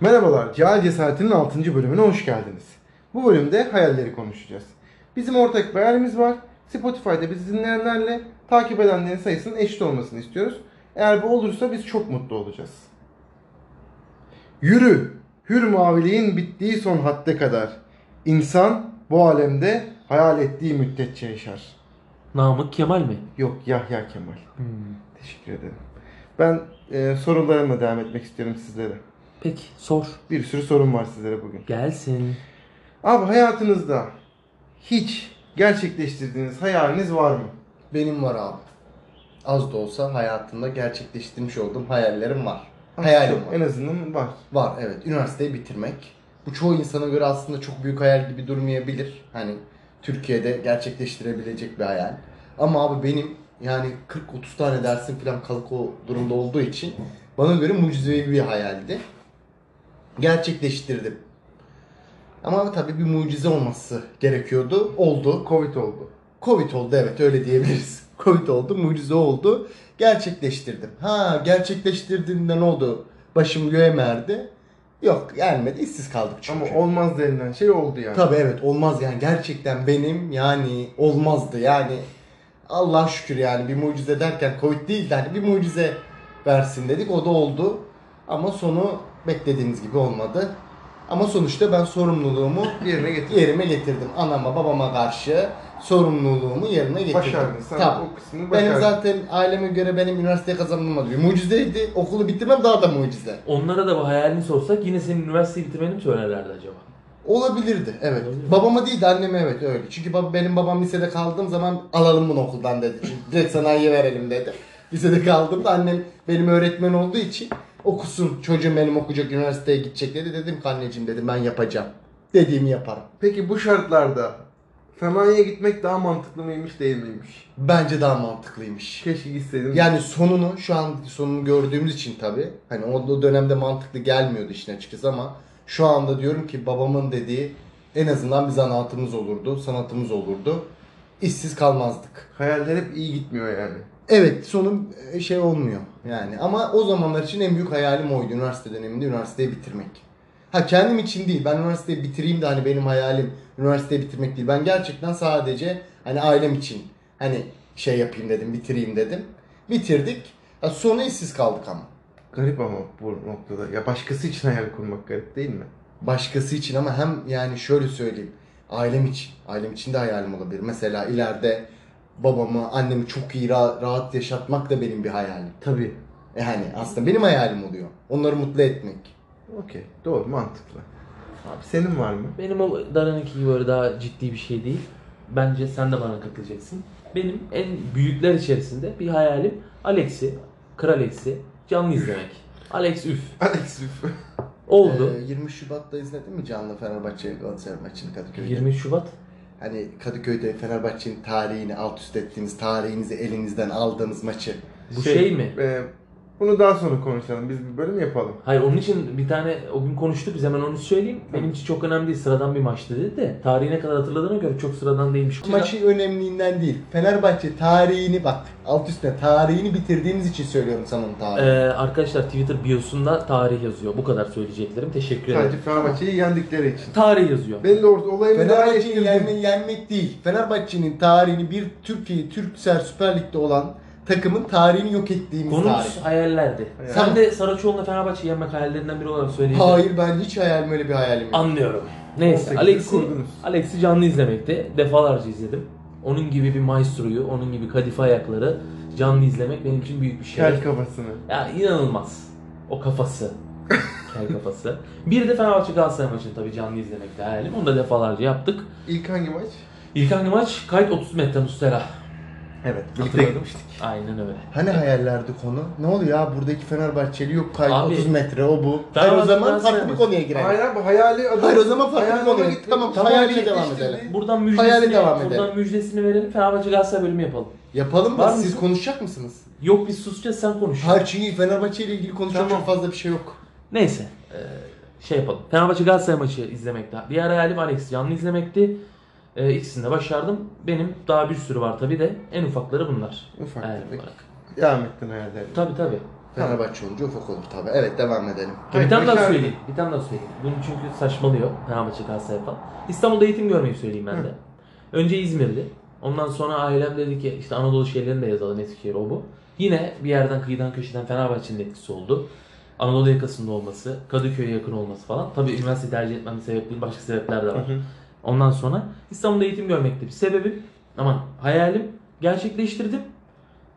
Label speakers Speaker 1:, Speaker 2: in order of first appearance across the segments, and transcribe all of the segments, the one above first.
Speaker 1: Merhabalar, Cahil Cesaretinin 6. bölümüne hoş geldiniz. Bu bölümde hayalleri konuşacağız. Bizim ortak bir hayalimiz var. Spotify'da bizi dinleyenlerle takip edenlerin sayısının eşit olmasını istiyoruz. Eğer bu olursa biz çok mutlu olacağız. Yürü, hür maviliğin bittiği son hadde kadar. İnsan bu alemde hayal ettiği müddetçe yaşar.
Speaker 2: Namık Kemal mi?
Speaker 1: Yok Yahya Kemal. Teşekkür ederim. Ben e, sorularımla devam etmek istiyorum sizlere.
Speaker 2: Peki sor.
Speaker 1: Bir sürü sorum var sizlere bugün.
Speaker 2: Gelsin.
Speaker 1: Abi hayatınızda hiç gerçekleştirdiğiniz hayaliniz var mı?
Speaker 3: Benim var abi. Az da olsa hayatımda gerçekleştirmiş olduğum hayallerim var. Hayalim
Speaker 1: En
Speaker 3: var.
Speaker 1: azından var.
Speaker 3: Var evet. Üniversiteyi bitirmek. Bu çoğu insana göre aslında çok büyük hayal gibi durmayabilir. Hani Türkiye'de gerçekleştirebilecek bir hayal. Ama abi benim yani 40-30 tane dersim falan kalık o durumda olduğu için bana göre mucizevi bir hayaldi. Gerçekleştirdim. Ama tabii bir mucize olması gerekiyordu. Oldu.
Speaker 1: Covid oldu.
Speaker 3: Covid oldu evet öyle diyebiliriz. Covid oldu, mucize oldu. Gerçekleştirdim. Ha gerçekleştirdiğimde ne oldu? Başım göğe mi erdi? Yok gelmedi. işsiz kaldık çünkü.
Speaker 1: Ama olmaz denilen şey oldu yani.
Speaker 3: Tabii evet olmaz yani gerçekten benim yani olmazdı yani. Allah şükür yani bir mucize derken Covid değil de hani bir mucize versin dedik o da oldu. Ama sonu beklediğimiz gibi olmadı. Ama sonuçta ben sorumluluğumu
Speaker 1: Yerine getirdim.
Speaker 3: yerime getirdim. Anama babama karşı sorumluluğumu yerine getirdim.
Speaker 1: Başardın. Sen
Speaker 3: Tabii.
Speaker 1: o kısmını başardın.
Speaker 3: Benim zaten aileme göre benim üniversiteye kazanılmadı. Bir mucizeydi. Okulu bitirmem daha da mucize.
Speaker 2: Onlara da bu hayalini sorsak yine senin üniversiteyi bitirmeni mi söylerlerdi acaba?
Speaker 3: Olabilirdi evet.
Speaker 2: Olabilir.
Speaker 3: Babama değil de anneme evet öyle. Çünkü bab- benim babam lisede kaldığım zaman alalım bunu okuldan dedi. Çünkü direkt sanayiye verelim dedi. Lisede kaldığımda annem benim öğretmen olduğu için okusun çocuğum benim okuyacak üniversiteye gidecek dedi. Dedim ki anneciğim dedim ben yapacağım. Dediğimi yaparım.
Speaker 1: Peki bu şartlarda sanayiye gitmek daha mantıklı mıymış değil miymiş?
Speaker 3: Bence daha mantıklıymış.
Speaker 1: Keşke gitseydim.
Speaker 3: Yani sonunu şu an sonunu gördüğümüz için tabi hani o o dönemde mantıklı gelmiyordu işin açıkçası ama şu anda diyorum ki babamın dediği en azından bir zanaatımız olurdu, sanatımız olurdu. İşsiz kalmazdık.
Speaker 1: Hayaller hep iyi gitmiyor yani.
Speaker 3: Evet sonu e, şey olmuyor yani ama o zamanlar için en büyük hayalim oydu üniversite döneminde üniversiteyi bitirmek. Ha kendim için değil ben üniversiteyi bitireyim de hani benim hayalim üniversiteyi bitirmek değil. Ben gerçekten sadece hani ailem için hani şey yapayım dedim bitireyim dedim. Bitirdik. Ha, sonu işsiz kaldık ama.
Speaker 1: Garip ama bu noktada. Ya başkası için hayal kurmak garip değil mi?
Speaker 3: başkası için ama hem yani şöyle söyleyeyim. Ailem için. Ailem için de hayalim olabilir. Mesela ileride babamı, annemi çok iyi ra- rahat yaşatmak da benim bir hayalim.
Speaker 1: Tabii.
Speaker 3: Yani E, hani aslında benim hayalim oluyor. Onları mutlu etmek.
Speaker 1: Okey. Doğru mantıklı. Abi senin var mı?
Speaker 2: Benim o Daran'ınki gibi böyle daha ciddi bir şey değil. Bence sen de bana katılacaksın. Benim en büyükler içerisinde bir hayalim Alex'i, Kralex'i canlı izlemek. Alex üf.
Speaker 1: Alex Üf.
Speaker 2: Oldu.
Speaker 3: Ee, 20 Şubat'ta izledin mi canlı Fenerbahçe Galatasaray maçını Kadıköy'de?
Speaker 2: 20 Şubat.
Speaker 3: Hani Kadıköy'de Fenerbahçe'nin tarihini alt üst ettiğiniz, tarihinizi elinizden aldığınız maçı.
Speaker 2: Bu şey, mi?
Speaker 1: e, bunu daha sonra konuşalım. Biz bir bölüm yapalım.
Speaker 2: Hayır onun için bir tane o gün konuştuk biz hemen onu söyleyeyim. Benim için çok önemli değil sıradan bir maçtı dedi de tarihine kadar hatırladığına göre çok sıradan değilmiş.
Speaker 3: Maçın önemliğinden değil. Fenerbahçe tarihini bak alt üstüne tarihini bitirdiğiniz için söylüyorum sana onu
Speaker 2: Ee,
Speaker 3: tarihini.
Speaker 2: arkadaşlar Twitter biosunda tarih yazıyor. Bu kadar söyleyeceklerim. Teşekkür ederim.
Speaker 1: Sadece Fenerbahçe'yi yendikleri için.
Speaker 2: Tarih yazıyor.
Speaker 1: Belli de orada olayı müdahale
Speaker 3: Fenerbahçe'yi
Speaker 1: ettirdim.
Speaker 3: yenme, yenmek değil. Fenerbahçe'nin tarihini bir Türkiye Türksel Süper Lig'de olan takımın tarihini yok ettiğimiz tarih.
Speaker 2: Konumuz hayallerdi.
Speaker 1: Hayal.
Speaker 2: Sen de Saraçoğlu'na Fenerbahçe yenmek hayallerinden biri olarak söyleyince
Speaker 3: Hayır ben hiç hayalim öyle bir hayalim yok.
Speaker 2: anlıyorum. Neyse
Speaker 1: 18'i
Speaker 2: Alex'i
Speaker 1: kurdunuz.
Speaker 2: Alex'i canlı izlemekte defalarca izledim. Onun gibi bir maestroyu, onun gibi kadife ayakları canlı izlemek benim için büyük bir şey.
Speaker 1: Kel kafasını.
Speaker 2: Ya inanılmaz. O kafası. Kel kafası. Bir de Fenerbahçe Galatasaray maçını tabii canlı izlemekte hayalim. Onu da defalarca yaptık.
Speaker 1: İlk hangi maç?
Speaker 2: İlk hangi maç? Kayıt 30 metre Mustera.
Speaker 1: Evet. Birlikte
Speaker 2: Hatırladım.
Speaker 1: gitmiştik.
Speaker 2: Aynen öyle.
Speaker 3: Hani hayallerdi konu? Ne oluyor ya buradaki Fenerbahçeli yok kaydı
Speaker 2: Abi-
Speaker 3: 30 metre o bu.
Speaker 2: Ben
Speaker 3: Hayır o
Speaker 2: az-
Speaker 3: zaman
Speaker 2: ben
Speaker 3: farklı bir
Speaker 2: sevmem.
Speaker 3: konuya girelim.
Speaker 1: Hayır abi hayali adam.
Speaker 3: Hayır, o zaman farklı
Speaker 1: Hayali
Speaker 3: bir konuya
Speaker 1: ona
Speaker 3: git.
Speaker 1: gitti.
Speaker 3: Tamam, hayaliyle devam
Speaker 1: gerçekleştirdi.
Speaker 3: edelim.
Speaker 2: Buradan müjdesini,
Speaker 3: Hayale devam
Speaker 2: buradan
Speaker 3: edelim.
Speaker 2: müjdesini verelim. Fenerbahçe Galatasaray bölümü yapalım.
Speaker 3: Yapalım
Speaker 2: Var
Speaker 3: da
Speaker 2: mı?
Speaker 3: siz konuşacak mısınız?
Speaker 2: Yok biz susacağız sen konuş.
Speaker 3: Hayır çünkü Fenerbahçe ile ilgili konuşacak
Speaker 1: Tamam.
Speaker 3: çok fazla bir şey yok.
Speaker 2: Neyse. eee, şey yapalım. Fenerbahçe Galatasaray maçı izlemekti. Diğer hayalim Alex canlı izlemekti. Eee ikisini de başardım. Benim daha bir sürü var tabii de. En ufakları bunlar.
Speaker 1: Ufak
Speaker 2: Hayalim
Speaker 1: tefek.
Speaker 2: olarak.
Speaker 1: Devam ettin hayallerine.
Speaker 2: Tabii tabii.
Speaker 3: Fenerbahçe olunca ufak olur tabii. Evet devam edelim.
Speaker 1: Hayır,
Speaker 2: bir tane daha
Speaker 1: Başar-
Speaker 2: söyleyeyim. Bir tane daha söyleyeyim. Bunu çünkü saçmalıyor Fenerbahçe Galatasaray falan. İstanbul'da eğitim görmeyi söyleyeyim ben de. Önce İzmir'de. Ondan sonra ailem dedi ki işte Anadolu şehirlerini de yazalım Eskişehir o bu. Yine bir yerden kıyıdan köşeden Fenerbahçe'nin etkisi oldu. Anadolu yakasında olması, Kadıköy'e yakın olması falan. Tabii üniversite tercih etmemin sebepleri başka sebepler de var.
Speaker 1: Hı hı.
Speaker 2: Ondan sonra İstanbul'da eğitim görmekti bir sebebim. Aman hayalim gerçekleştirdim.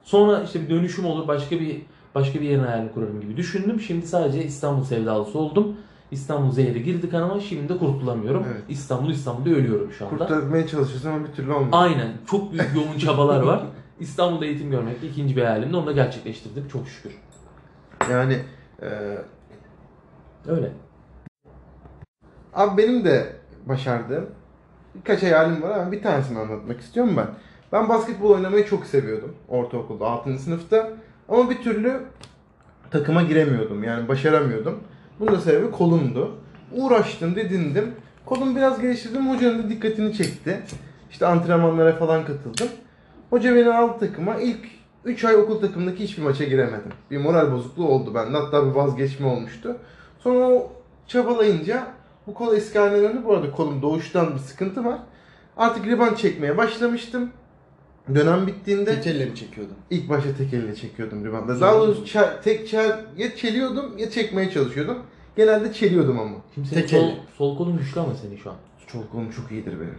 Speaker 2: Sonra işte bir dönüşüm olur başka bir başka bir yerin hayalini kurarım gibi düşündüm. Şimdi sadece İstanbul sevdalısı oldum. İstanbul zehri girdi kanıma şimdi de kurtulamıyorum.
Speaker 1: Evet.
Speaker 2: İstanbul İstanbul'da ölüyorum şu anda.
Speaker 1: Kurtarmaya çalışıyorsun ama bir türlü olmuyor.
Speaker 2: Aynen çok büyük yoğun çabalar var. İstanbul'da eğitim görmekte ikinci bir hayalimdi. Onu da gerçekleştirdim çok şükür.
Speaker 1: Yani e,
Speaker 2: Öyle.
Speaker 1: Abi benim de başardığım birkaç hayalim var ama bir tanesini anlatmak istiyorum ben. Ben basketbol oynamayı çok seviyordum ortaokulda 6. sınıfta ama bir türlü takıma giremiyordum yani başaramıyordum. Bunun da sebebi kolumdu. Uğraştım didindim. Kolum biraz geliştirdim hocanın da dikkatini çekti. İşte antrenmanlara falan katıldım. Hoca beni aldı takıma ilk 3 ay okul takımındaki hiçbir maça giremedim. Bir moral bozukluğu oldu bende hatta bir vazgeçme olmuştu. Sonra o çabalayınca bu kol eski haline döndü. Bu arada kolum doğuştan bir sıkıntı var. Artık riban çekmeye başlamıştım. Dönem bittiğinde
Speaker 3: Tek elle mi çekiyordun?
Speaker 1: ilk başta tek elle çekiyordum ribanda. Daha doğrusu çel- tek çel ya çeliyordum ya çekmeye çalışıyordum. Genelde çeliyordum ama.
Speaker 2: Şimdi senin
Speaker 3: Tek
Speaker 2: sol,
Speaker 3: elle.
Speaker 2: sol kolun güçlü ama senin şu an.
Speaker 1: Çok kolum çok iyidir benim.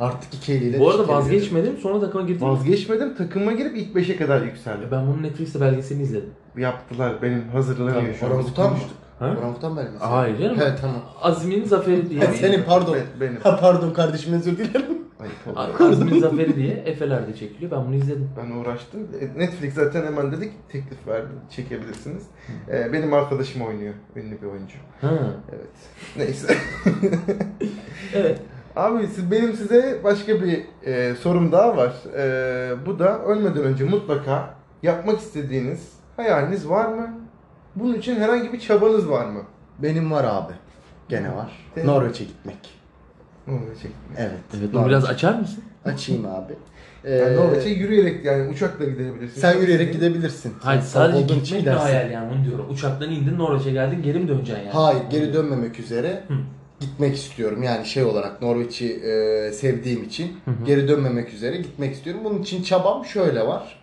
Speaker 3: Artık iki eliyle
Speaker 2: Bu arada
Speaker 3: çekebiliyordun.
Speaker 2: vazgeçmedim sonra takıma girdim.
Speaker 1: Vazgeçmedim. Takıma girip ilk 5'e kadar yükseldim.
Speaker 2: Ben bunun Netflix'te belgeselini izledim.
Speaker 1: Yaptılar. Benim hazırlanıyor
Speaker 2: Tabii,
Speaker 1: şu an.
Speaker 3: Orangutan mı?
Speaker 1: Konuştuk.
Speaker 2: Ha?
Speaker 3: Orangutan belgesi.
Speaker 2: Hayır canım.
Speaker 3: Evet tamam.
Speaker 2: Azmin Zaferi diye.
Speaker 3: Ha, senin pardon.
Speaker 1: Evet, benim.
Speaker 3: Ha, pardon kardeşim özür dilerim.
Speaker 1: Ayıp oldu.
Speaker 2: Azmin Zaferi diye Efeler'de çekiliyor. Ben bunu izledim.
Speaker 1: Ben uğraştım. E, Netflix zaten hemen dedik teklif verdi. Çekebilirsiniz. Ee, benim arkadaşım oynuyor. Ünlü bir oyuncu.
Speaker 2: Ha.
Speaker 1: Evet. Neyse.
Speaker 2: Evet.
Speaker 1: Abi siz, benim size başka bir e, sorum daha var. E, bu da ölmeden önce mutlaka yapmak istediğiniz hayaliniz var mı? Bunun için herhangi bir çabanız var mı?
Speaker 3: Benim var abi. Gene var.
Speaker 1: Senin-
Speaker 3: Norveç'e gitmek.
Speaker 1: Norveç'e gitmek.
Speaker 3: Evet.
Speaker 2: Evet bunu
Speaker 3: Norveç.
Speaker 2: biraz açar mısın?
Speaker 3: açayım abi.
Speaker 1: Yani
Speaker 3: Ee,
Speaker 1: Norveç'e E, şey, yürüyerek yani uçakla gidebilirsin.
Speaker 3: sen yürüyerek gidebilirsin.
Speaker 2: Hayır
Speaker 3: Sen
Speaker 2: sadece
Speaker 3: olduğun
Speaker 2: gitmek
Speaker 3: için
Speaker 2: de
Speaker 3: gidersin.
Speaker 2: hayal yani onu diyorum. Uçaktan indin Norveç'e geldin geri mi döneceksin yani?
Speaker 3: Hayır geri dönmemek üzere
Speaker 2: Hı.
Speaker 3: gitmek istiyorum. Yani şey olarak Norveç'i e, sevdiğim için
Speaker 2: hı.
Speaker 3: geri dönmemek üzere gitmek istiyorum. Bunun için çabam şöyle var.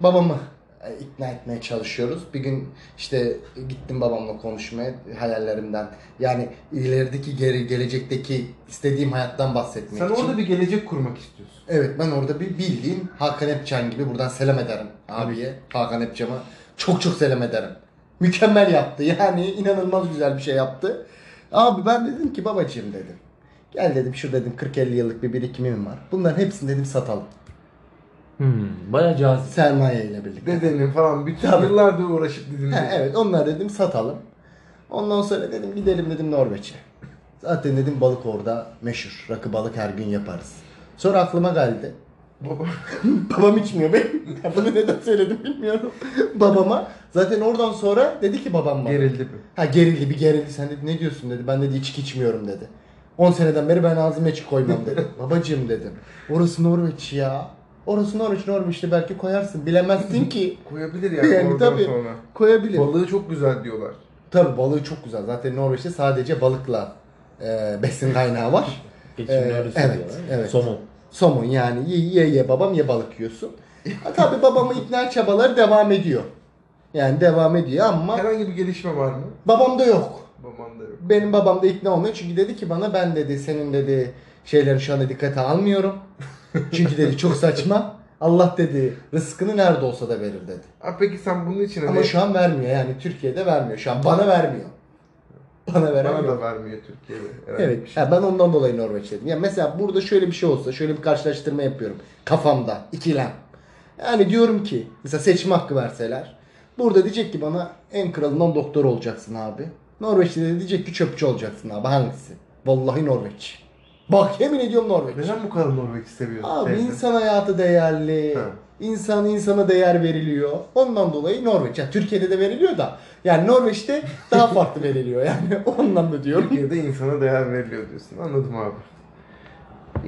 Speaker 3: Babamı e, ikna etmeye çalışıyoruz. Bir gün işte gittim babamla konuşmaya hayallerimden. Yani ilerideki geri gelecekteki istediğim hayattan bahsetmek
Speaker 1: Sen
Speaker 3: için.
Speaker 1: orada bir gelecek kurmak istiyorsun.
Speaker 3: Evet ben orada bir bildiğin Hakan Epcan gibi buradan selam ederim abiye. Hakan Epcan'a çok çok selam ederim. Mükemmel yaptı yani inanılmaz güzel bir şey yaptı. Abi ben dedim ki babacığım dedim. Gel dedim şu dedim 40-50 yıllık bir birikimim var. Bunların hepsini dedim satalım.
Speaker 2: Hmm, bayağı cazip.
Speaker 3: Sermaye ile birlikte.
Speaker 1: Dedenin falan bütün
Speaker 3: Tabii.
Speaker 1: yıllardır uğraşıp dediğin.
Speaker 3: Ha, evet onlar dedim satalım. Ondan sonra dedim gidelim dedim Norveç'e. Zaten dedim balık orada meşhur. Rakı balık her gün yaparız. Sonra aklıma geldi.
Speaker 1: Baba,
Speaker 3: Babam içmiyor be. Ya Bunu neden söyledim bilmiyorum. Babama. Zaten oradan sonra dedi ki babam bana.
Speaker 1: gerildi bir.
Speaker 3: Ha gerildi bir gerildi. Sen dedi ne diyorsun dedi. Ben dedi içki içmiyorum dedi. 10 seneden beri ben ağzıma içki koymam dedi. Babacığım dedim. Orası Norveç ya. Orası Norveç Norveç'te belki koyarsın. Bilemezsin ki.
Speaker 1: Koyabilir yani,
Speaker 3: yani
Speaker 1: oradan
Speaker 3: tabii
Speaker 1: sonra.
Speaker 3: koyabilir.
Speaker 1: Balığı çok güzel diyorlar.
Speaker 3: tabii balığı çok güzel. Zaten Norveç'te sadece balıkla e, besin kaynağı var.
Speaker 2: Geçimde
Speaker 3: Ee,
Speaker 2: öyle
Speaker 3: evet,
Speaker 2: söylüyorlar.
Speaker 3: evet.
Speaker 2: Somon.
Speaker 3: Somon yani ye ye, ye babam ye balık yiyorsun. Ha, tabii babamın ikna çabaları devam ediyor. Yani devam ediyor ama
Speaker 1: Herhangi bir gelişme var mı?
Speaker 3: babamda yok.
Speaker 1: Baban da yok.
Speaker 3: Benim babam da ikna olmuyor çünkü dedi ki bana ben dedi senin dedi şeyleri şu anda dikkate almıyorum. Çünkü dedi çok saçma. Allah dedi rızkını nerede olsa da verir dedi.
Speaker 1: Ha, peki sen bunun için
Speaker 3: Ama
Speaker 1: hani-
Speaker 3: şu an vermiyor yani Türkiye'de vermiyor. Şu an bana vermiyor. Bana
Speaker 1: Bana
Speaker 3: veremiyor.
Speaker 1: da vermiyor Türkiye'de. herhangi bir
Speaker 3: Evet.
Speaker 1: şey.
Speaker 3: Ha, ben ondan dolayı Norveç dedim. Ya mesela burada şöyle bir şey olsa, şöyle bir karşılaştırma yapıyorum kafamda, ikilem. Yani diyorum ki, mesela seçme hakkı verseler. Burada diyecek ki bana en kralından doktor olacaksın abi. Norveç'te de diyecek ki çöpçü olacaksın abi. Hangisi? Vallahi Norveç. Bak yemin ediyorum Norveç.
Speaker 1: Neden bu kadar Norveç'i seviyorsun?
Speaker 3: Abi
Speaker 1: teyze?
Speaker 3: insan hayatı değerli.
Speaker 1: Ha.
Speaker 3: İnsan insana değer veriliyor. Ondan dolayı Norveç. Ya Türkiye'de de veriliyor da. Yani Norveç'te daha farklı veriliyor. Yani o anlamda diyorum.
Speaker 1: Türkiye'de insana değer veriliyor diyorsun. Anladım abi.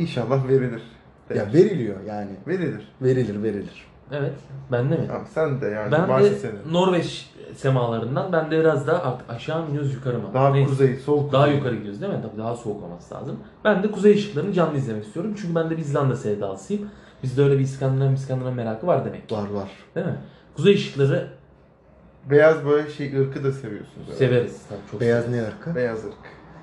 Speaker 1: İnşallah verilir. Değer.
Speaker 3: Ya veriliyor yani.
Speaker 1: verilir.
Speaker 3: Verilir verilir.
Speaker 2: Evet. Ben de mi?
Speaker 1: Abi sen de yani
Speaker 2: Ben
Speaker 1: varsa
Speaker 2: de
Speaker 1: senin.
Speaker 2: Norveç semalarından ben de biraz daha artık aşağı mı iniyoruz yukarı mı?
Speaker 1: Daha
Speaker 2: Neyse.
Speaker 1: kuzey, sol kuzey.
Speaker 2: Daha yukarı gidiyoruz değil mi? Tabii daha soğuk olması lazım. Ben de kuzey ışıklarını canlı izlemek istiyorum. Çünkü ben de bir İzlanda sevdalısıyım. Bizde öyle bir İskandinav İskandinav merakı var demek ki.
Speaker 3: Var var.
Speaker 2: Değil mi? Kuzey ışıkları
Speaker 1: Beyaz böyle şey ırkı da seviyorsunuz. herhalde.
Speaker 2: severiz. Tabii çok
Speaker 3: Beyaz
Speaker 2: severiz.
Speaker 3: ne ırkı?
Speaker 1: Beyaz ırk.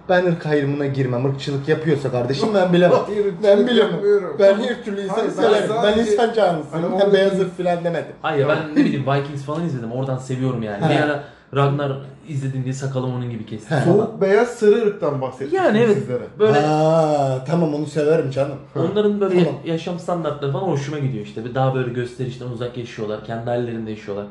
Speaker 3: Ben ırk ayrımına girmem. Irkçılık yapıyorsa kardeşim ben bilemem. ben bilemem.
Speaker 1: Yapmıyorum.
Speaker 3: Ben her türlü
Speaker 1: Hayır,
Speaker 3: insanı
Speaker 1: ben
Speaker 3: severim. Ben
Speaker 1: sadece-
Speaker 3: insan canlısıyım.
Speaker 1: Hani
Speaker 3: Ben
Speaker 1: orada-
Speaker 3: beyaz ırk filan demedim.
Speaker 2: Hayır
Speaker 1: Tamam.
Speaker 2: ben ne bileyim Vikings falan izledim. Oradan seviyorum yani. Bir
Speaker 3: He.
Speaker 2: ara Ragnar izledim diye sakalım onun gibi kesti.
Speaker 3: He.
Speaker 2: falan.
Speaker 1: Soğuk beyaz sarı ırktan bahsetmiştim
Speaker 2: Yani evet.
Speaker 1: sizlere.
Speaker 2: Böyle
Speaker 3: Aa, tamam onu severim canım.
Speaker 2: Onların böyle
Speaker 3: Tamam.
Speaker 2: yaşam standartları falan hoşuma gidiyor işte. Bir Daha böyle gösterişten uzak yaşıyorlar. Kendi hallerinde yaşıyorlar.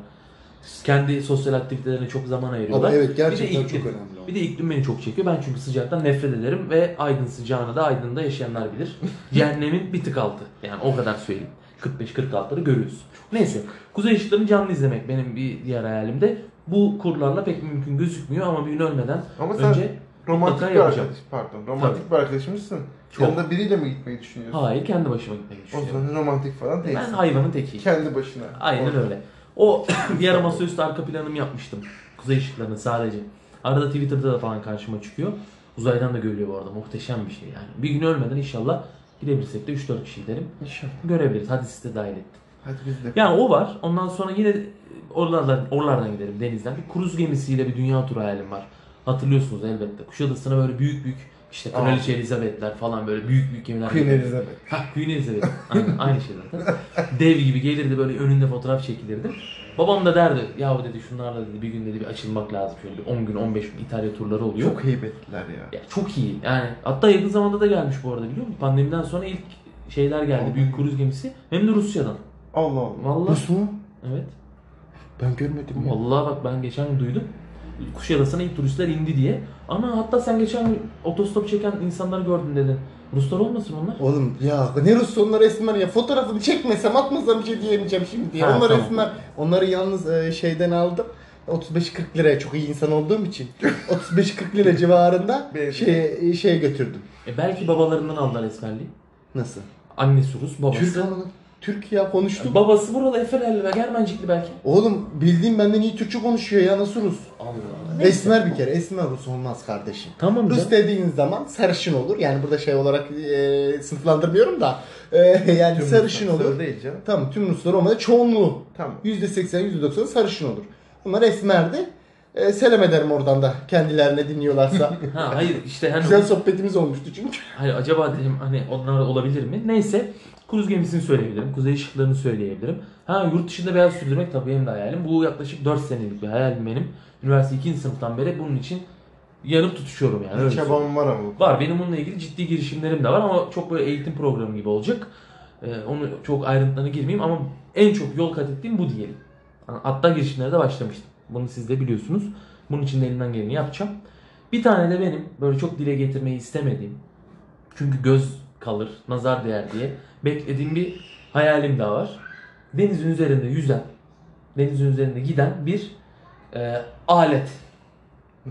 Speaker 2: Kendi sosyal aktivitelerine çok zaman ayırıyorlar.
Speaker 3: Ama evet
Speaker 2: Bir de
Speaker 3: gerçekten
Speaker 2: iklim-
Speaker 3: çok önemli. o.
Speaker 2: Bir de iklim beni çok çekiyor. Ben çünkü sıcaktan nefret ederim ve Aydın sıcağını da Aydın'da yaşayanlar bilir. Cehennemin bir tık altı. Yani o kadar söyleyeyim. 45-46'ları görüyoruz. Neyse. Kuzey ışıklarını canlı izlemek benim bir diğer hayalimde. Bu kurlarla pek mümkün gözükmüyor ama bir gün ölmeden
Speaker 1: Ama sen
Speaker 2: önce
Speaker 1: romantik
Speaker 2: mutlaka
Speaker 1: bir
Speaker 2: yapacağım.
Speaker 1: arkadaş, pardon, romantik bir arkadaşmışsın.
Speaker 2: Çok.
Speaker 1: Yanında biriyle mi gitmeyi düşünüyorsun?
Speaker 2: hayır kendi başıma gitmek
Speaker 1: O
Speaker 2: düşünüyorum.
Speaker 1: zaman romantik falan değilsin.
Speaker 2: Ben hayvanın tekiyim.
Speaker 1: Kendi başına.
Speaker 2: Aynen öyle. O bir ara masaüstü arka planımı yapmıştım. Kuzey ışıklarını sadece. Arada Twitter'da da falan karşıma çıkıyor. Uzaydan da görülüyor bu arada. Muhteşem bir şey yani. Bir gün ölmeden inşallah gidebilirsek de 3-4 kişi giderim.
Speaker 1: İnşallah.
Speaker 2: Görebiliriz. Hadi siz de dahil ettim.
Speaker 1: Hadi biz de.
Speaker 2: Yani o var. Ondan sonra yine oralardan, oralardan giderim denizden. Bir kruz gemisiyle bir dünya turu hayalim var. Hatırlıyorsunuz elbette. Kuşadası'na böyle büyük büyük işte
Speaker 1: Aa.
Speaker 2: Kraliçe Elizabeth'ler falan böyle büyük büyük gemiler.
Speaker 1: Queen Elizabeth.
Speaker 2: Ha Queen Elizabeth. Aynen, aynı şey zaten. Dev gibi gelirdi böyle önünde fotoğraf çekilirdi. Babam da derdi yahu dedi şunlarla dedi bir gün dedi bir açılmak lazım. Şöyle bir 10 gün 15 gün İtalya turları oluyor.
Speaker 1: Çok heybetliler ya.
Speaker 2: Ya çok iyi yani. Hatta yakın zamanda da gelmiş bu arada biliyor musun? Pandemiden sonra ilk şeyler geldi.
Speaker 1: Aa.
Speaker 2: Büyük kruz gemisi. Hem de Rusya'dan.
Speaker 1: Allah Allah.
Speaker 2: Vallahi.
Speaker 3: Nasıl?
Speaker 2: Evet.
Speaker 3: Ben görmedim ya.
Speaker 2: Vallahi bak ben geçen gün duydum. Kuşadası'na ilk turistler indi diye. Ama hatta sen geçen gün otostop çeken insanları gördün dedin. Ruslar olmasın onlar?
Speaker 3: Oğlum ya ne Rus onları esmer ya fotoğrafını çekmesem atmasam bir şey diyemeyeceğim şimdi ya.
Speaker 2: Ha,
Speaker 3: Onlar
Speaker 2: tamam.
Speaker 3: esmer. Onları yalnız e, şeyden aldım. 35-40 liraya çok iyi insan olduğum için 35-40 lira civarında
Speaker 1: Beğendim.
Speaker 3: şey şeye götürdüm.
Speaker 2: E belki babalarından aldılar esmerliği.
Speaker 3: Nasıl?
Speaker 2: Annesi Rus, babası.
Speaker 3: Türk ama Türkiye konuştuk.
Speaker 2: Babası buralı Efelerli ve Germencikli belki.
Speaker 3: Oğlum bildiğim benden iyi Türkçe konuşuyor ya nasıl Rus?
Speaker 2: Allah Allah.
Speaker 3: Esmer bir kere. Esmer Rus olmaz kardeşim.
Speaker 2: Tamam
Speaker 3: Rus
Speaker 2: canım.
Speaker 3: dediğiniz zaman sarışın olur. Yani burada şey olarak e, sınıflandırmıyorum da e, yani
Speaker 1: Tüm
Speaker 3: sarışın
Speaker 1: Ruslar.
Speaker 3: olur.
Speaker 1: Sarı değil canım.
Speaker 3: Tamam tüm Ruslar olmadı. Çoğunluğu
Speaker 1: Tamam.
Speaker 3: %80 %90 sarışın olur. Bunlar esmerdi. E, selam ederim oradan da kendilerine dinliyorlarsa.
Speaker 2: Ha hayır işte hani
Speaker 3: Güzel sohbetimiz olmuştu çünkü.
Speaker 2: hayır acaba dedim hani onlar olabilir mi? Neyse kruz gemisini söyleyebilirim. Kuzey ışıklarını söyleyebilirim. Ha yurt dışında beyaz sürdürmek tabii benim de hayalim. Bu yaklaşık 4 senelik bir hayalim benim. Üniversite 2. sınıftan beri bunun için yanıp tutuşuyorum yani. öyle söyleyeyim.
Speaker 1: Hani Çabam var ama.
Speaker 2: Var benim bununla ilgili ciddi girişimlerim de var ama çok böyle eğitim programı gibi olacak. Ee, onu çok ayrıntılarına girmeyeyim ama en çok yol kat ettiğim bu diyelim. Hatta girişimlere de başlamıştım. Bunu siz de biliyorsunuz. Bunun için de elimden geleni yapacağım. Bir tane de benim böyle çok dile getirmeyi istemediğim çünkü göz kalır, nazar değer diye beklediğim bir hayalim daha var. Denizin üzerinde yüzen, denizin üzerinde giden bir e, alet.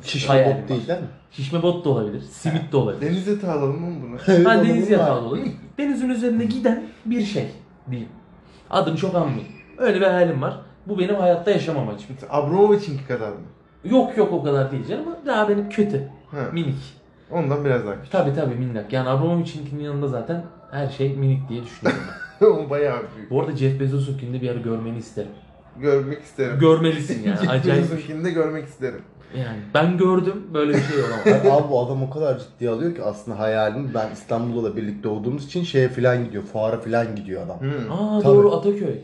Speaker 3: Şişme
Speaker 2: Hayalim
Speaker 3: bot değil değil mi?
Speaker 2: Şişme bot da olabilir, simit de olabilir.
Speaker 1: Denize alalım mı bunu?
Speaker 2: Ha
Speaker 3: Onun
Speaker 2: deniz
Speaker 3: var.
Speaker 2: yatağı da olur. Denizin üzerinde giden bir şey diyeyim. Adım çok anmayayım. Öyle bir hayalim var. Bu benim hayatta yaşamam amacım.
Speaker 1: Abramovich'inki kadar mı?
Speaker 2: Yok yok o kadar değil canım. Daha benim kötü.
Speaker 1: Ha.
Speaker 2: Minik.
Speaker 1: Ondan biraz daha küçük.
Speaker 2: Tabi tabi minnak. Yani Abramovich'inkinin yanında zaten her şey minik diye düşünüyorum. ben.
Speaker 1: o bayağı büyük.
Speaker 2: Bu arada Jeff Bezos'unkini bir ara görmeni isterim.
Speaker 1: Görmek isterim.
Speaker 2: Görmelisin yani. Acayip bir şey.
Speaker 1: Acayip. de görmek isterim.
Speaker 2: Yani ben gördüm böyle bir şey olamaz.
Speaker 3: Abi bu adam o kadar ciddiye alıyor ki aslında hayalini ben İstanbul'da da birlikte olduğumuz için şeye filan gidiyor. Fuara filan gidiyor adam.
Speaker 1: Hı.
Speaker 2: Aa
Speaker 3: Tabii.
Speaker 2: doğru Ataköy.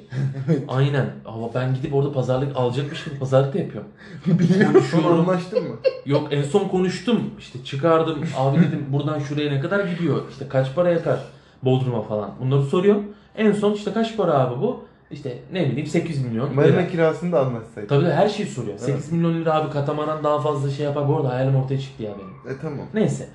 Speaker 2: Aynen. Ama ben gidip orada pazarlık alacakmış gibi pazarlık da yapıyorum.
Speaker 3: Biliyorum.
Speaker 1: Şu an anlaştın mı?
Speaker 2: Yok en son konuştum. İşte çıkardım. Abi dedim buradan şuraya ne kadar gidiyor? İşte kaç para yakar? Bodrum'a falan. Bunları soruyorum. En son işte kaç para abi bu? İşte ne bileyim 8 milyon. lira.
Speaker 1: Marina kirasını da anlatsaydın.
Speaker 2: Tabii de her şeyi soruyor. 8 milyon lira abi katamaran daha fazla şey yapar. Bu arada hayalim ortaya çıktı ya benim.
Speaker 1: E tamam.
Speaker 2: Neyse.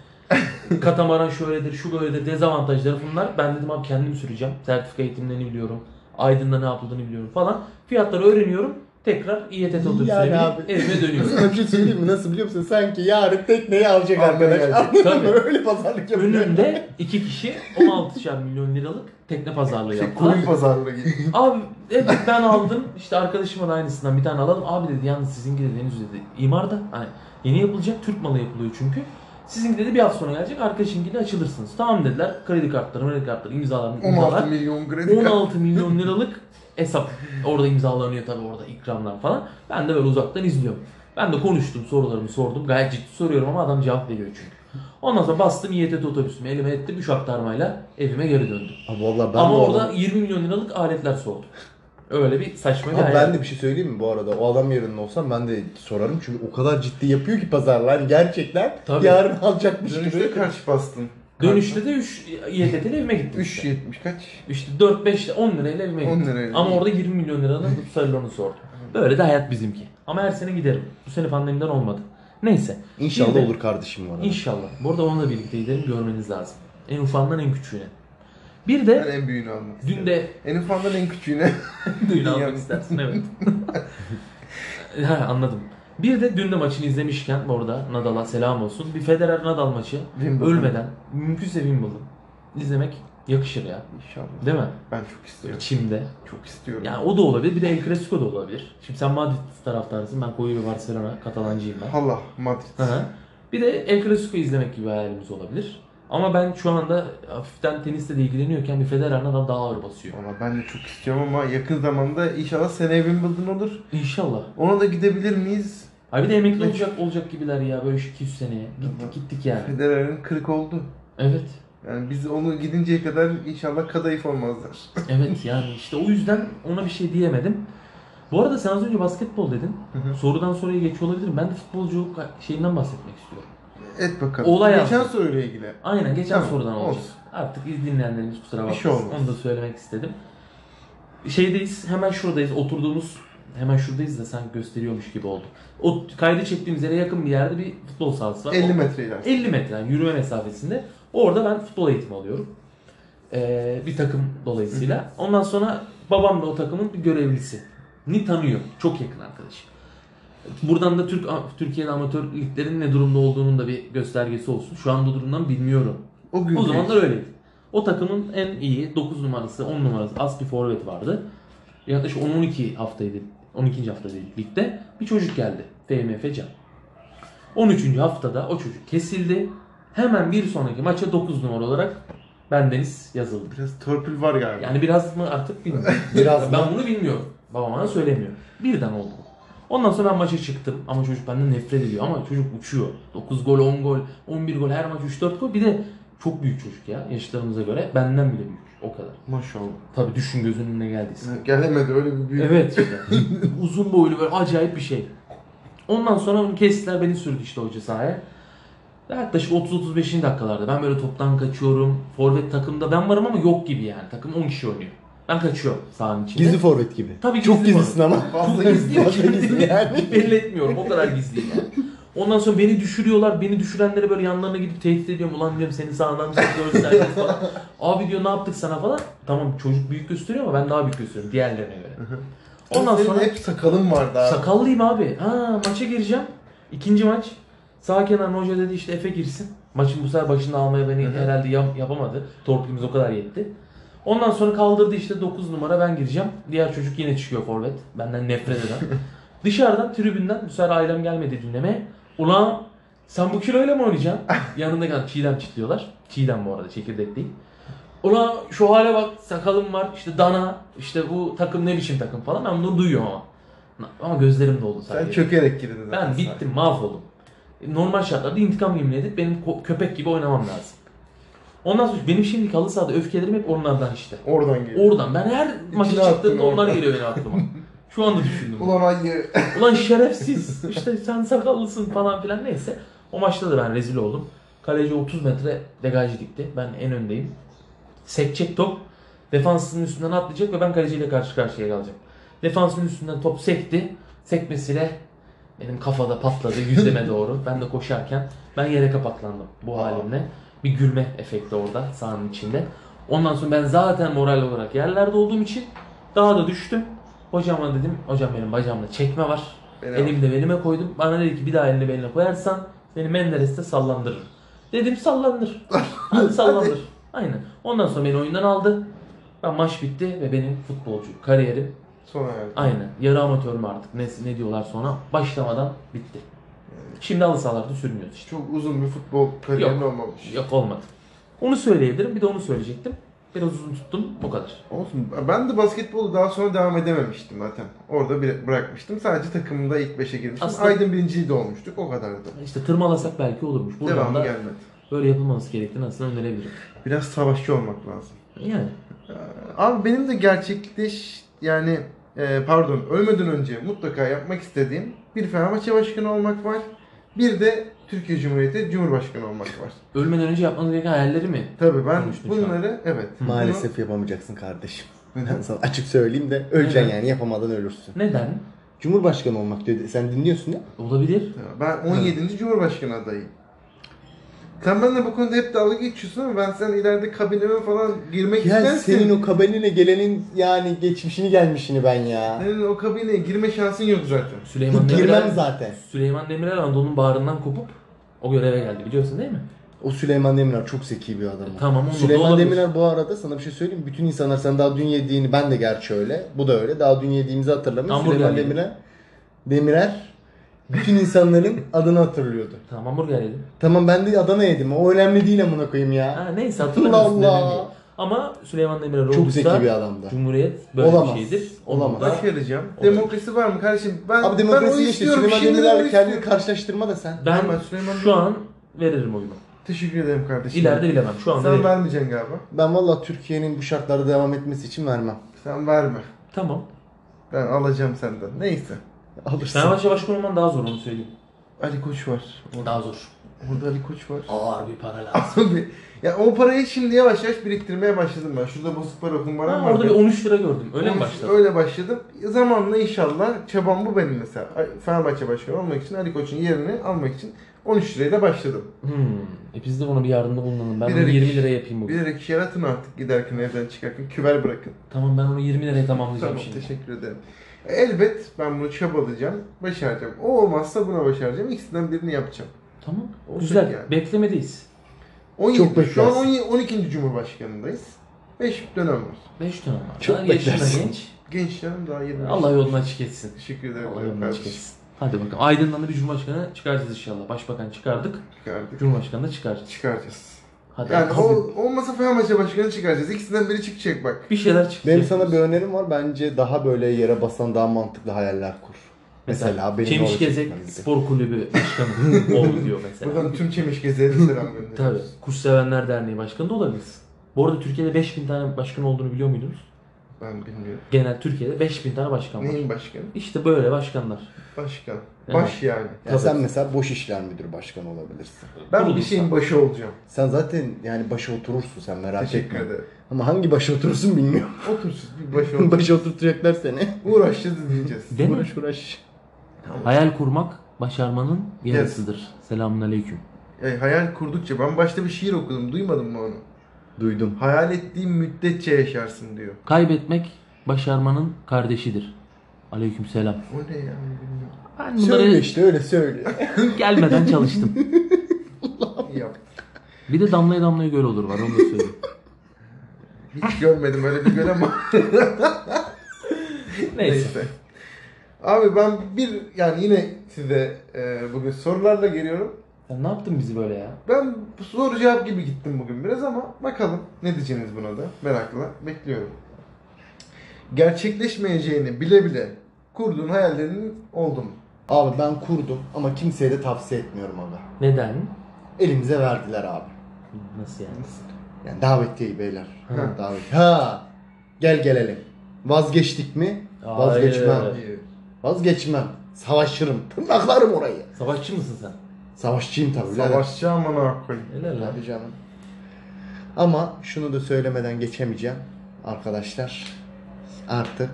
Speaker 2: Katamaran şöyledir, şu böyledir, dezavantajları bunlar. Ben dedim abi kendim süreceğim. Sertifika eğitimlerini biliyorum. Aydın'da ne yapıldığını biliyorum falan. Fiyatları öğreniyorum. tekrar İETT otobüsüyle
Speaker 3: Yani
Speaker 2: binip
Speaker 3: abi.
Speaker 2: evime dönüyorum.
Speaker 3: Sana bir şey söyleyeyim mi? Nasıl biliyor musun? Sanki yarın tekneyi alacak
Speaker 1: Almaya
Speaker 3: arkadaş.
Speaker 1: gelecek.
Speaker 3: Anladın
Speaker 2: Tabii.
Speaker 3: mı? Öyle pazarlık yapıyor.
Speaker 2: Önümde iki kişi 16'şer milyon liralık tekne pazarlığı
Speaker 1: Şey,
Speaker 2: yaptılar.
Speaker 1: koyun pazarlığı gibi.
Speaker 2: Abi evet ben aldım işte arkadaşıma da aynısından bir tane alalım. Abi dedi yalnız sizinki dedi henüz dedi imarda hani yeni yapılacak Türk malı yapılıyor çünkü. Sizinki dedi bir hafta sonra gelecek arkadaşınkiyle açılırsınız. Tamam dediler kredi kartları kredi kartları imzalar
Speaker 1: 16
Speaker 2: imzalar.
Speaker 1: milyon kredi kartı.
Speaker 2: 16 milyon liralık hesap. Orada imzalanıyor tabii orada ikramlar falan. Ben de böyle uzaktan izliyorum. Ben de konuştum sorularımı sordum. Gayet ciddi soruyorum ama adam cevap veriyor çünkü. Ondan sonra bastım İETT otobüsüme elime ettim. 3 aktarmayla evime geri döndüm.
Speaker 3: Abi valla ben
Speaker 2: Ama
Speaker 3: bu
Speaker 2: orada
Speaker 3: adam-
Speaker 2: 20 milyon liralık aletler soğudu. Öyle bir saçma bir
Speaker 3: Abi
Speaker 2: hayal.
Speaker 3: ben de bir şey söyleyeyim mi bu arada? O adam yerinde olsam ben de sorarım. Çünkü o kadar ciddi yapıyor ki pazarlar. Gerçekten
Speaker 2: Tabii.
Speaker 3: yarın alacakmış
Speaker 1: Dönüşte
Speaker 3: gibi.
Speaker 1: kaç bastın?
Speaker 2: Dönüşte de 3 İETT ile evime gittim.
Speaker 1: 3
Speaker 2: işte.
Speaker 1: yetmiş kaç?
Speaker 2: İşte 4 5 10 lirayla evime
Speaker 1: 10
Speaker 2: gittim.
Speaker 1: lirayla.
Speaker 2: Ama orada 20 milyon liranın tutarlarını sordu. Böyle de hayat bizimki. Ama her sene giderim. Bu sene pandemiden olmadı. Neyse.
Speaker 3: İnşallah
Speaker 2: Bir de-
Speaker 3: olur kardeşim bu arada.
Speaker 2: İnşallah. Bu arada onunla birlikte gidelim görmeniz lazım. En ufandan en küçüğüne. Bir de
Speaker 1: Ben en büyüğünü almak
Speaker 2: dün
Speaker 1: isterim.
Speaker 2: de
Speaker 1: En ufandan en küçüğüne.
Speaker 2: düğün almak
Speaker 1: Dünyanın-
Speaker 2: istersin evet. ha, anladım. Bir de dün de maçını izlemişken bu arada Nadal'a selam olsun. Bir Federer Nadal maçı
Speaker 1: Wimbledon.
Speaker 2: ölmeden mümkünse Wimbledon izlemek yakışır ya.
Speaker 1: İnşallah.
Speaker 2: Değil mi?
Speaker 1: Ben çok istiyorum.
Speaker 2: İçimde.
Speaker 1: Çok istiyorum.
Speaker 2: Yani o da olabilir. Bir de El Clasico da olabilir. Şimdi sen Madrid taraftarısın. Ben koyu bir Barcelona. Katalancıyım ben.
Speaker 1: Allah Madrid.
Speaker 2: Hı hı. Bir de El Clasico izlemek gibi hayalimiz olabilir. Ama ben şu anda hafiften tenisle de ilgileniyorken bir Federer Nadal daha ağır basıyor.
Speaker 1: Valla ben de çok istiyorum ama yakın zamanda inşallah seneye Wimbledon olur.
Speaker 2: İnşallah.
Speaker 1: Ona da gidebilir miyiz?
Speaker 2: Abi bir de emekli olacak olacak gibiler ya böyle şu 200 seneye. Gittik gittik yani.
Speaker 1: Federer'in kırık oldu.
Speaker 2: Evet.
Speaker 1: Yani biz onu gidinceye kadar inşallah kadayıf olmazlar.
Speaker 2: Evet yani işte o yüzden ona bir şey diyemedim. Bu arada sen az önce basketbol dedin.
Speaker 1: Hı hı.
Speaker 2: Sorudan soruya geçiyor olabilirim. Ben de futbolculuk şeyinden bahsetmek istiyorum.
Speaker 1: Et bakalım.
Speaker 2: Olay
Speaker 1: Geçen
Speaker 2: yaptı.
Speaker 1: soruyla ilgili.
Speaker 2: Aynen geçen
Speaker 1: Tamam,
Speaker 2: sorudan olacak.
Speaker 1: olsun.
Speaker 2: Artık iz- dinleyenlerimiz kusura
Speaker 1: Bir
Speaker 2: bakmasın.
Speaker 1: şey olmaz.
Speaker 2: Onu da söylemek istedim. Şeydeyiz, hemen şuradayız. Oturduğumuz hemen şuradayız da sanki gösteriyormuş gibi oldu. O kaydı çektiğimiz yere yakın bir yerde bir futbol sahası var.
Speaker 1: 50
Speaker 2: O-
Speaker 1: metre ilerisi.
Speaker 2: 50 metre yani yürüme mesafesinde. Orada ben futbol eğitimi alıyorum. Ee, bir takım dolayısıyla. Ondan sonra babam da o takımın bir görevlisi. Ni tanıyor. Çok yakın arkadaşım. Buradan da Türk Türkiye'de amatör liglerin ne durumda olduğunun da bir göstergesi olsun. Şu an bu durumdan bilmiyorum.
Speaker 1: O gün
Speaker 2: O zamanlar öyleydi. O takımın en iyi 9 numarası, 10 numarası az bir forvet vardı. Yaklaşık 10-12 haftaydı. 12. haftadaydı ligde. Bir çocuk geldi. FMF Can. 13. haftada o çocuk kesildi. Hemen bir sonraki maça 9 numara olarak bendeniz yazıldı.
Speaker 1: Biraz torpil var galiba.
Speaker 2: Yani biraz mı artık bilmiyorum.
Speaker 3: Biraz
Speaker 2: ben
Speaker 3: mı?
Speaker 2: bunu bilmiyorum. Babam bana söylemiyor. Birden oldu. bu. Ondan sonra ben maça çıktım ama çocuk benden nefret ediyor ama çocuk uçuyor. 9 gol, 10 gol, 11 gol her maç 3-4 gol. Bir de çok büyük çocuk ya yaşlarımıza göre. Benden bile büyük o kadar.
Speaker 1: Maşallah.
Speaker 2: Tabii düşün gözünün önüne geldiyse.
Speaker 1: Gelemedi öyle bir şey. büyük.
Speaker 2: Evet işte. Uzun boylu böyle acayip bir şey. Ondan sonra onu kestiler beni sürdü işte hoca sahaya. Yaklaşık 30-35. dakikalarda ben böyle toptan kaçıyorum. Forvet takımda ben varım ama yok gibi yani. Takım 10 kişi oynuyor. Ben kaçıyorum sahanın içinde.
Speaker 3: Gizli forvet gibi.
Speaker 2: Tabii
Speaker 3: Çok
Speaker 2: gizli
Speaker 3: gizlisin ama.
Speaker 1: Fazla
Speaker 2: Çok
Speaker 1: gizli.
Speaker 2: gizliyim.
Speaker 3: Fazla gizli
Speaker 2: Kendimi
Speaker 3: yani.
Speaker 2: belli etmiyorum. O kadar gizliyim yani. Ondan sonra beni düşürüyorlar. Beni düşürenlere böyle yanlarına gidip tehdit ediyorum. Ulan diyorum seni sağdan çok gösterdim falan. Abi diyor ne yaptık sana falan. Tamam çocuk büyük gösteriyor ama ben daha büyük gösteriyorum diğerlerine göre. Ondan
Speaker 1: Senin
Speaker 2: sonra
Speaker 1: hep sakalın vardı abi.
Speaker 2: sakallıyım abi. Ha maça gireceğim. İkinci maç. Sağ kenarına hoca dedi işte Efe girsin. Maçın bu sefer başında almaya beni
Speaker 1: Hı hı.
Speaker 2: herhalde yap- yapamadı. Torpilimiz o kadar yetti. Ondan sonra kaldırdı işte 9 numara ben gireceğim. Diğer çocuk yine çıkıyor forvet. Benden nefret eden. Dışarıdan tribünden bu sefer ailem gelmedi dinlemeye. Ulan sen bu kiloyla mı oynayacaksın? Yanında kalan Çiğdem çitliyorlar. Çiğdem bu arada çekirdek değil. Ulan şu hale bak sakalım var işte dana işte bu takım ne biçim takım falan ben bunu duyuyorum ama. Ama gözlerim doldu sadece.
Speaker 1: Sen çökerek girdin zaten.
Speaker 2: Ben bittim, mahvoldum. Normal şartlarda intikam yemin edip benim ko- köpek gibi oynamam lazım. Ondan sonra benim şimdiki halı sahada öfkelerim hep onlardan işte.
Speaker 1: Oradan geldi.
Speaker 2: Oradan ben her maça
Speaker 1: attın
Speaker 2: çıktığımda onlar
Speaker 1: oradan.
Speaker 2: geliyor benim aklıma. Şu anda düşündüm. Ulan,
Speaker 1: Ulan ayı.
Speaker 2: şerefsiz işte sen sakallısın falan filan neyse. O maçta da ben rezil oldum. Kaleci 30 metre degaj dikti. Ben en öndeyim. Sekecek top. Defansının üstünden atlayacak ve ben kaleciyle karşı karşıya kalacağım. Defansın üstünden top sekti. Sekmesiyle benim kafada patladı yüzleme doğru. Ben de koşarken ben yere kapaklandım bu
Speaker 1: Aa.
Speaker 2: halimle. Bir gülme efekti orada sahanın içinde. Ondan sonra ben zaten moral olarak yerlerde olduğum için daha da düştüm. Hocama dedim, hocam benim bacağımda çekme var.
Speaker 1: Beni al.
Speaker 2: Elimi de belime koydum. Bana dedi ki bir daha elini beline koyarsan seni Menderes'te sallandırırım. Dedim sallandır. Hadi sallandır. Aynen. Ondan sonra beni oyundan aldı. Ben maç bitti ve benim futbolcu kariyerim
Speaker 1: Sona erdi.
Speaker 2: aynen yarı amatör mü artık ne, ne diyorlar sonra başlamadan bitti. Şimdi halı sahalarda sürmüyoruz işte.
Speaker 1: Çok uzun bir futbol kariyerin olmamış.
Speaker 2: Yok olmadı. Onu söyleyebilirim. Bir de onu söyleyecektim. Biraz uzun tuttum. Bu kadar.
Speaker 1: Olsun. Ben de basketbolu daha sonra devam edememiştim zaten. Orada bir bırakmıştım. Sadece takımımda ilk 5'e girmiştim.
Speaker 2: Aslında-
Speaker 1: Aydın birinciliği de olmuştuk. O kadardı.
Speaker 2: İşte tırmalasak belki olurmuş. Buradan
Speaker 1: Devamı
Speaker 2: da
Speaker 1: gelmedi.
Speaker 2: böyle yapılmaması gerektiğini aslında önerebilirim.
Speaker 1: Biraz savaşçı olmak lazım. Ee,
Speaker 2: Yani
Speaker 1: Abi benim de gerçekleş yani e, pardon ölmeden önce mutlaka yapmak istediğim bir Fenerbahçe başkanı olmak var. Bir de Türkiye Cumhuriyeti Cumhurbaşkanı olmak var.
Speaker 2: ölmeden önce yapmanız gereken hayalleri mi?
Speaker 1: Tabii ben
Speaker 2: Konuştuk şu an.
Speaker 1: bunları evet. bunu-
Speaker 3: Maalesef yapamayacaksın kardeşim. Ben sana açık söyleyeyim de öleceksin
Speaker 2: Neden?
Speaker 3: yani yapamadan ölürsün.
Speaker 2: Neden?
Speaker 3: Cumhurbaşkanı olmak dedi. Sen dinliyorsun ya.
Speaker 2: Olabilir.
Speaker 1: Ben 17. Cumhurbaşkanı adayım. Sen benimle bu konuda hep dalga geçiyorsun ama ben sen ileride kabineme falan girmek
Speaker 3: Ya
Speaker 1: istersin.
Speaker 3: senin o kabeline gelenin yani geçmişini gelmişini ben ya.
Speaker 1: Senin o kabineye girme şansın yok zaten.
Speaker 2: Süleyman
Speaker 3: Girmem
Speaker 2: Demirel,
Speaker 3: zaten.
Speaker 2: Süleyman Demirel Anadolu'nun bağrından kopup o göreve geldi biliyorsun değil mi?
Speaker 3: O Süleyman Demirel çok zeki bir adam.
Speaker 2: E, Tamam, onu da
Speaker 3: Süleyman
Speaker 2: olabilir.
Speaker 3: Demirel bu arada sana bir şey söyleyeyim. mi? Bütün insanlar sen daha dün yediğini ben de gerçi öyle. Bu da öyle. Daha dün yediğimizi hatırlamıyor.
Speaker 2: Hamburger
Speaker 3: Süleyman
Speaker 2: yedim.
Speaker 3: Demirel. Demirel bütün insanların adını hatırlıyordu.
Speaker 2: Tamam hamburger yedim.
Speaker 3: Tamam ben de Adana yedim. O önemli değil amına koyayım ya.
Speaker 2: Ha, neyse hatırlamıyorsun
Speaker 3: Allah.
Speaker 2: demeni. Ama Süleyman Demirel
Speaker 3: Çok
Speaker 2: olduysa
Speaker 3: zeki bir adamdı.
Speaker 2: Cumhuriyet böyle
Speaker 3: Olamaz.
Speaker 2: bir şeydir.
Speaker 3: Olamaz.
Speaker 2: da-
Speaker 1: Başaracağım.
Speaker 2: Olabilir.
Speaker 1: Demokrasi var mı kardeşim? Ben,
Speaker 3: Abi
Speaker 1: ben onu
Speaker 3: demokrasi işte
Speaker 1: istiyorum.
Speaker 3: Süleyman
Speaker 1: Şimdi
Speaker 3: Demirel'le
Speaker 1: istiyorum.
Speaker 3: kendini karşılaştırma da sen.
Speaker 2: Ben
Speaker 1: Ama Süleyman
Speaker 2: şu
Speaker 1: Demirel-
Speaker 2: an veririm oyunu.
Speaker 1: Teşekkür ederim kardeşim.
Speaker 2: İleride bilemem. Şu an
Speaker 1: Sen
Speaker 2: veririm.
Speaker 1: vermeyeceksin galiba.
Speaker 3: Ben valla Türkiye'nin bu şartlarda devam etmesi için vermem.
Speaker 1: Sen verme.
Speaker 2: Tamam.
Speaker 1: Ben alacağım senden. Neyse.
Speaker 3: Alırsın.
Speaker 2: Fenerbahçe başkanı olman daha zor onu söyleyeyim.
Speaker 1: Ali Koç var. Orada,
Speaker 2: Daha zor.
Speaker 1: orada Ali Koç var.
Speaker 2: Ağır bir para lazım.
Speaker 1: Abi ya o parayı şimdi yavaş yavaş biriktirmeye başladım ben. Şurada bozuk para kumbaram
Speaker 2: Ha,
Speaker 1: var.
Speaker 2: orada bir
Speaker 1: benim.
Speaker 2: 13 lira gördüm. Öyle mi
Speaker 1: Onun-
Speaker 2: başladı?
Speaker 1: Öyle başladım. Zamanla inşallah çabam bu benim mesela. Ay- Fenerbahçe başkanı olmak için Ali Koç'un yerini almak için 13 liraya da başladım.
Speaker 2: Hmm. E biz de buna bir yardımda bulunalım. Ben
Speaker 1: Bilerek-
Speaker 2: onu 20 liraya yapayım bugün.
Speaker 1: Bilerek şey yaratın artık giderken evden çıkarken küver bırakın.
Speaker 2: Tamam ben onu 20 liraya tamamlayacağım
Speaker 1: Tamam
Speaker 2: şimdi.
Speaker 1: teşekkür ederim. E, Elbet ben bunu çabalayacağım, başaracağım. O olmazsa buna başaracağım. İkisinden birini yapacağım.
Speaker 2: Tamam.
Speaker 1: Olacak
Speaker 2: Güzel.
Speaker 1: yani.
Speaker 2: Beklemedeyiz.
Speaker 1: 17,
Speaker 3: Çok
Speaker 1: şu an
Speaker 3: beklersin.
Speaker 1: 17, 12. Cumhurbaşkanındayız. 5 dönem var.
Speaker 2: 5 dönem var.
Speaker 3: Çok
Speaker 2: Daha yaşında
Speaker 3: beklersin.
Speaker 2: genç.
Speaker 1: Gençlerim daha 25.
Speaker 2: Allah yolunu açık etsin.
Speaker 1: Teşekkür ederim.
Speaker 2: Allah
Speaker 1: kardeşim.
Speaker 2: yolunu açık etsin. Hadi bakalım. Aydın'dan da bir Cumhurbaşkanı çıkaracağız inşallah. Başbakan çıkardık.
Speaker 1: Çıkardık.
Speaker 2: Cumhurbaşkanı da çıkaracağız.
Speaker 1: Çıkaracağız.
Speaker 2: Hadi.
Speaker 1: Yani
Speaker 2: Hadi.
Speaker 1: o, olmasa Fenerbahçe başkanı çıkaracağız. İkisinden biri çıkacak bak.
Speaker 2: Bir şeyler çıktı.
Speaker 3: Benim sana bir önerim var. Bence daha böyle yere basan daha mantıklı hayaller kur. Mesela, benim
Speaker 2: Çemiş
Speaker 3: olacak
Speaker 2: Gezek
Speaker 3: bence.
Speaker 2: Spor Kulübü Başkanı ol diyor mesela.
Speaker 1: Buradan tüm Çemiş Gezi'ye de selam gönderiyoruz.
Speaker 2: Tabii. Kuş Sevenler Derneği Başkanı da olabilirsin. Bu arada Türkiye'de 5000 tane başkan olduğunu biliyor muydunuz?
Speaker 1: Ben bilmiyorum.
Speaker 2: Genel Türkiye'de 5000 tane başkan var.
Speaker 1: Neyin başkanı?
Speaker 2: İşte böyle başkanlar.
Speaker 1: Başkan.
Speaker 2: Evet.
Speaker 1: Baş yani.
Speaker 3: Ya sen
Speaker 2: Tabii.
Speaker 3: mesela boş işler müdürü başkanı olabilirsin.
Speaker 1: Ben bir
Speaker 2: Kurulursa.
Speaker 1: şeyin başı olacağım.
Speaker 3: Sen zaten yani başa oturursun sen merak
Speaker 1: Teşekkür
Speaker 3: etme.
Speaker 1: ederim.
Speaker 3: Ama hangi başa oturursun bilmiyorum.
Speaker 1: Otursuz bir başı olacağım.
Speaker 3: başa oturtacaklar seni.
Speaker 1: Uğraşacağız diyeceğiz.
Speaker 2: Değil mi?
Speaker 3: Uğraş uğraş.
Speaker 2: Hayal kurmak başarmanın yarısıdır. Selamun aleyküm.
Speaker 1: Yani E, hayal kurdukça ben başta bir şiir okudum duymadın mı onu?
Speaker 3: Duydum.
Speaker 1: Hayal ettiğin müddetçe yaşarsın diyor.
Speaker 2: Kaybetmek başarmanın kardeşidir. Aleyküm selam.
Speaker 1: O ne ya bilmiyorum.
Speaker 2: Ben
Speaker 3: Söyle
Speaker 2: bunları
Speaker 3: işte öyle söyle.
Speaker 2: gelmeden çalıştım.
Speaker 1: İyi yaptın.
Speaker 2: Bir de damlaya damlaya göl olur var onu da söyleyeyim.
Speaker 1: Hiç görmedim öyle bir göl ama neyse. Abi ben bir yani yine size e, bugün sorularla geliyorum.
Speaker 2: Sen ne yaptın bizi böyle ya?
Speaker 1: Ben soru cevap gibi gittim bugün biraz ama bakalım ne diyeceğiniz buna da merakla bekliyorum. Gerçekleşmeyeceğini bile bile kurduğun hayallerinin oldu mu?
Speaker 3: Abi ben kurdum ama kimseye de tavsiye etmiyorum abi.
Speaker 2: Neden?
Speaker 3: Elimize verdiler abi.
Speaker 2: Nasıl yani?
Speaker 3: Yani davetiyeyi beyler.
Speaker 1: Ha.
Speaker 3: Ha. Davet. Ha. Gel gelelim. Vazgeçtik mi?
Speaker 2: Hayır.
Speaker 3: Vazgeçmem.
Speaker 1: İyi.
Speaker 3: Vazgeçmem. Savaşırım. Tırnaklarım orayı.
Speaker 2: Savaşçı mısın sen?
Speaker 3: Savaşçıyım tabii. birader.
Speaker 1: Savaşçı amına koyayım.
Speaker 2: Helal lan.
Speaker 3: Tabii canım. Ama şunu da söylemeden geçemeyeceğim arkadaşlar. Artık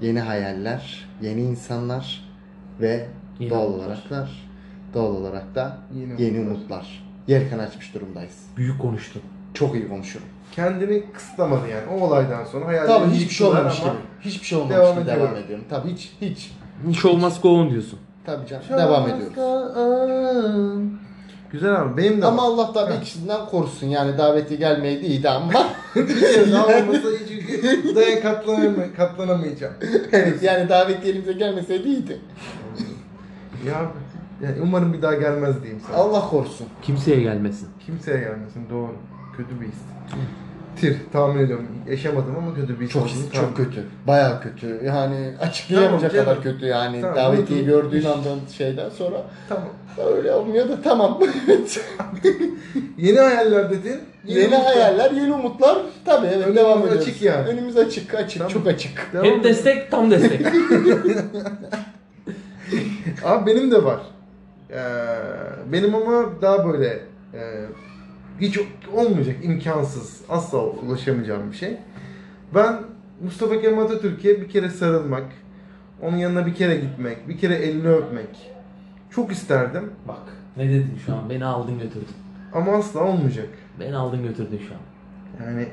Speaker 3: yeni hayaller, yeni insanlar ve
Speaker 2: Yeni
Speaker 3: doğal
Speaker 2: umutlar.
Speaker 3: olaraklar, doğal olarak da
Speaker 1: Yeni
Speaker 3: yeni
Speaker 1: umutlar.
Speaker 3: umutlar. Yelken açmış durumdayız.
Speaker 2: Büyük konuştun.
Speaker 3: çok iyi konuşuyorum.
Speaker 1: Kendini kısıtlamadı yani. O olaydan sonra hayalleri
Speaker 3: Tabii hiçbir şey
Speaker 1: yıktılar
Speaker 3: olmamış gibi.
Speaker 1: ama
Speaker 3: Hiçbir şey olmamış
Speaker 1: devam
Speaker 3: gibi
Speaker 1: ediyorum.
Speaker 3: devam ediyorum. Tabii hiç hiç.
Speaker 2: Hiç şey olmaz go on diyorsun.
Speaker 3: Tabii canım devam
Speaker 1: Şarkı-
Speaker 3: ediyoruz.
Speaker 1: Güzel abi. Benim de
Speaker 3: Ama
Speaker 1: var.
Speaker 3: Allah da bir ikisinden korusun yani daveti gelmeydi iyiydi ama
Speaker 1: Ama olmasa hiç dayak katlanamay- katlanamayacağım.
Speaker 3: yani davet elimize gelmeseydi iyiydi.
Speaker 1: ya yani umarım bir daha gelmez diyeyim sana.
Speaker 3: Allah korusun.
Speaker 2: Kimseye gelmesin.
Speaker 1: Kimseye gelmesin doğru. Kötü bir his. Tir tahmin ediyorum. Yaşamadım ama kötü bir his.
Speaker 3: Çok
Speaker 1: olduğunu tahmin-
Speaker 3: çok kötü. Bayağı kötü. Yani açıklayamayacak
Speaker 1: Tamam,
Speaker 3: kadar
Speaker 1: canım.
Speaker 3: kötü yani.
Speaker 1: Tamam,
Speaker 3: Davetiyi
Speaker 1: unutulmuş.
Speaker 3: gördüğün andan şeyden sonra
Speaker 1: Tamam.
Speaker 3: öyle olmuyor da tamam.
Speaker 1: Yeni hayaller dedin.
Speaker 3: yeni hayaller, yeni umutlar tabii evet
Speaker 1: Önümüz
Speaker 3: devam ediyoruz.
Speaker 1: açık yani.
Speaker 3: Önümüz açık, açık,
Speaker 1: Tamam.
Speaker 3: çok açık.
Speaker 1: Devam
Speaker 2: Hep destek tam destek.
Speaker 1: Abi benim de var. Ee, benim ama daha böyle e, hiç olmayacak, imkansız, asla ulaşamayacağım bir şey. Ben Mustafa Kemal Atatürk'e bir kere sarılmak, onun yanına bir kere gitmek, bir kere elini öpmek çok isterdim
Speaker 2: Bak ne dedin şu an? Beni aldın götürdün.
Speaker 1: ama asla olmayacak.
Speaker 2: Beni aldın götürdün şu an.
Speaker 1: Yani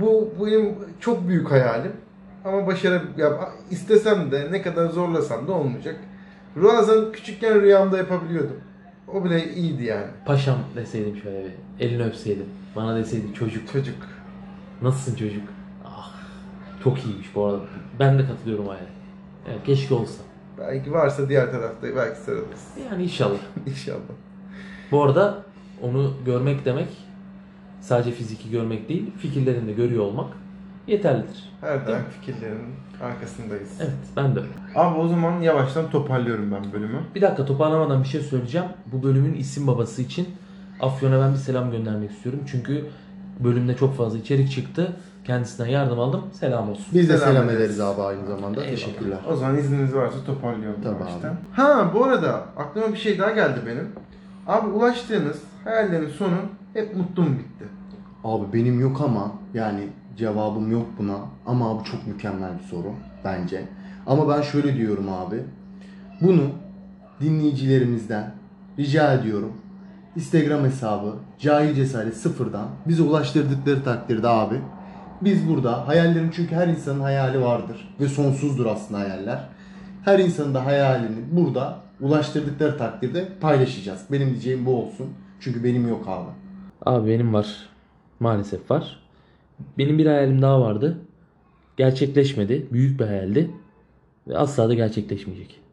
Speaker 1: bu bu benim çok büyük hayalim ama başarı ya, istesem de ne kadar zorlasam da olmayacak. Bazen küçükken rüyamda yapabiliyordum. O bile iyiydi yani.
Speaker 2: Paşam deseydim şöyle bir. Elini öpseydim. Bana deseydin çocuk.
Speaker 1: Çocuk.
Speaker 2: Nasılsın çocuk? Ah. Çok iyiymiş bu arada. Ben de katılıyorum hayal. Evet, keşke olsa.
Speaker 1: Belki varsa diğer tarafta belki sarılırız.
Speaker 2: Yani inşallah.
Speaker 1: İnşallah.
Speaker 2: Bu arada onu görmek demek sadece fiziki görmek değil, fikirlerini de görüyor olmak yeterlidir.
Speaker 1: Her daim fikirlerin arkasındayız.
Speaker 2: Evet, ben de öyle.
Speaker 1: Abi o zaman yavaştan toparlıyorum ben bölümü.
Speaker 2: Bir dakika toparlamadan bir şey söyleyeceğim. Bu bölümün isim babası için Afyon'a ben bir selam göndermek istiyorum. Çünkü bölümde çok fazla içerik çıktı. Kendisinden yardım aldım. Selam olsun.
Speaker 3: Biz de
Speaker 1: Selam
Speaker 3: selam,
Speaker 1: ederiz.
Speaker 3: ederiz abi aynı zamanda.
Speaker 2: Eyvallah.
Speaker 3: Teşekkürler.
Speaker 1: O zaman izniniz varsa toparlıyorum
Speaker 3: Tamam.
Speaker 1: yavaştan. Ha bu arada aklıma bir şey daha geldi benim. Abi ulaştığınız hayallerin sonu hep mutlu mu bitti?
Speaker 3: Abi benim yok ama yani cevabım yok buna ama abi çok mükemmel bir soru bence. Ama ben şöyle diyorum abi. Bunu dinleyicilerimizden rica ediyorum. Instagram hesabı cahil cesaret sıfırdan bize ulaştırdıkları takdirde abi. Biz burada hayallerim çünkü her insanın hayali vardır ve sonsuzdur aslında hayaller. Her insanın da hayalini burada ulaştırdıkları takdirde paylaşacağız. Benim diyeceğim bu olsun. Çünkü benim yok abi.
Speaker 2: Abi benim var. Maalesef var. Benim bir hayalim daha vardı. Gerçekleşmedi. Büyük bir hayaldi. Ve asla da gerçekleşmeyecek.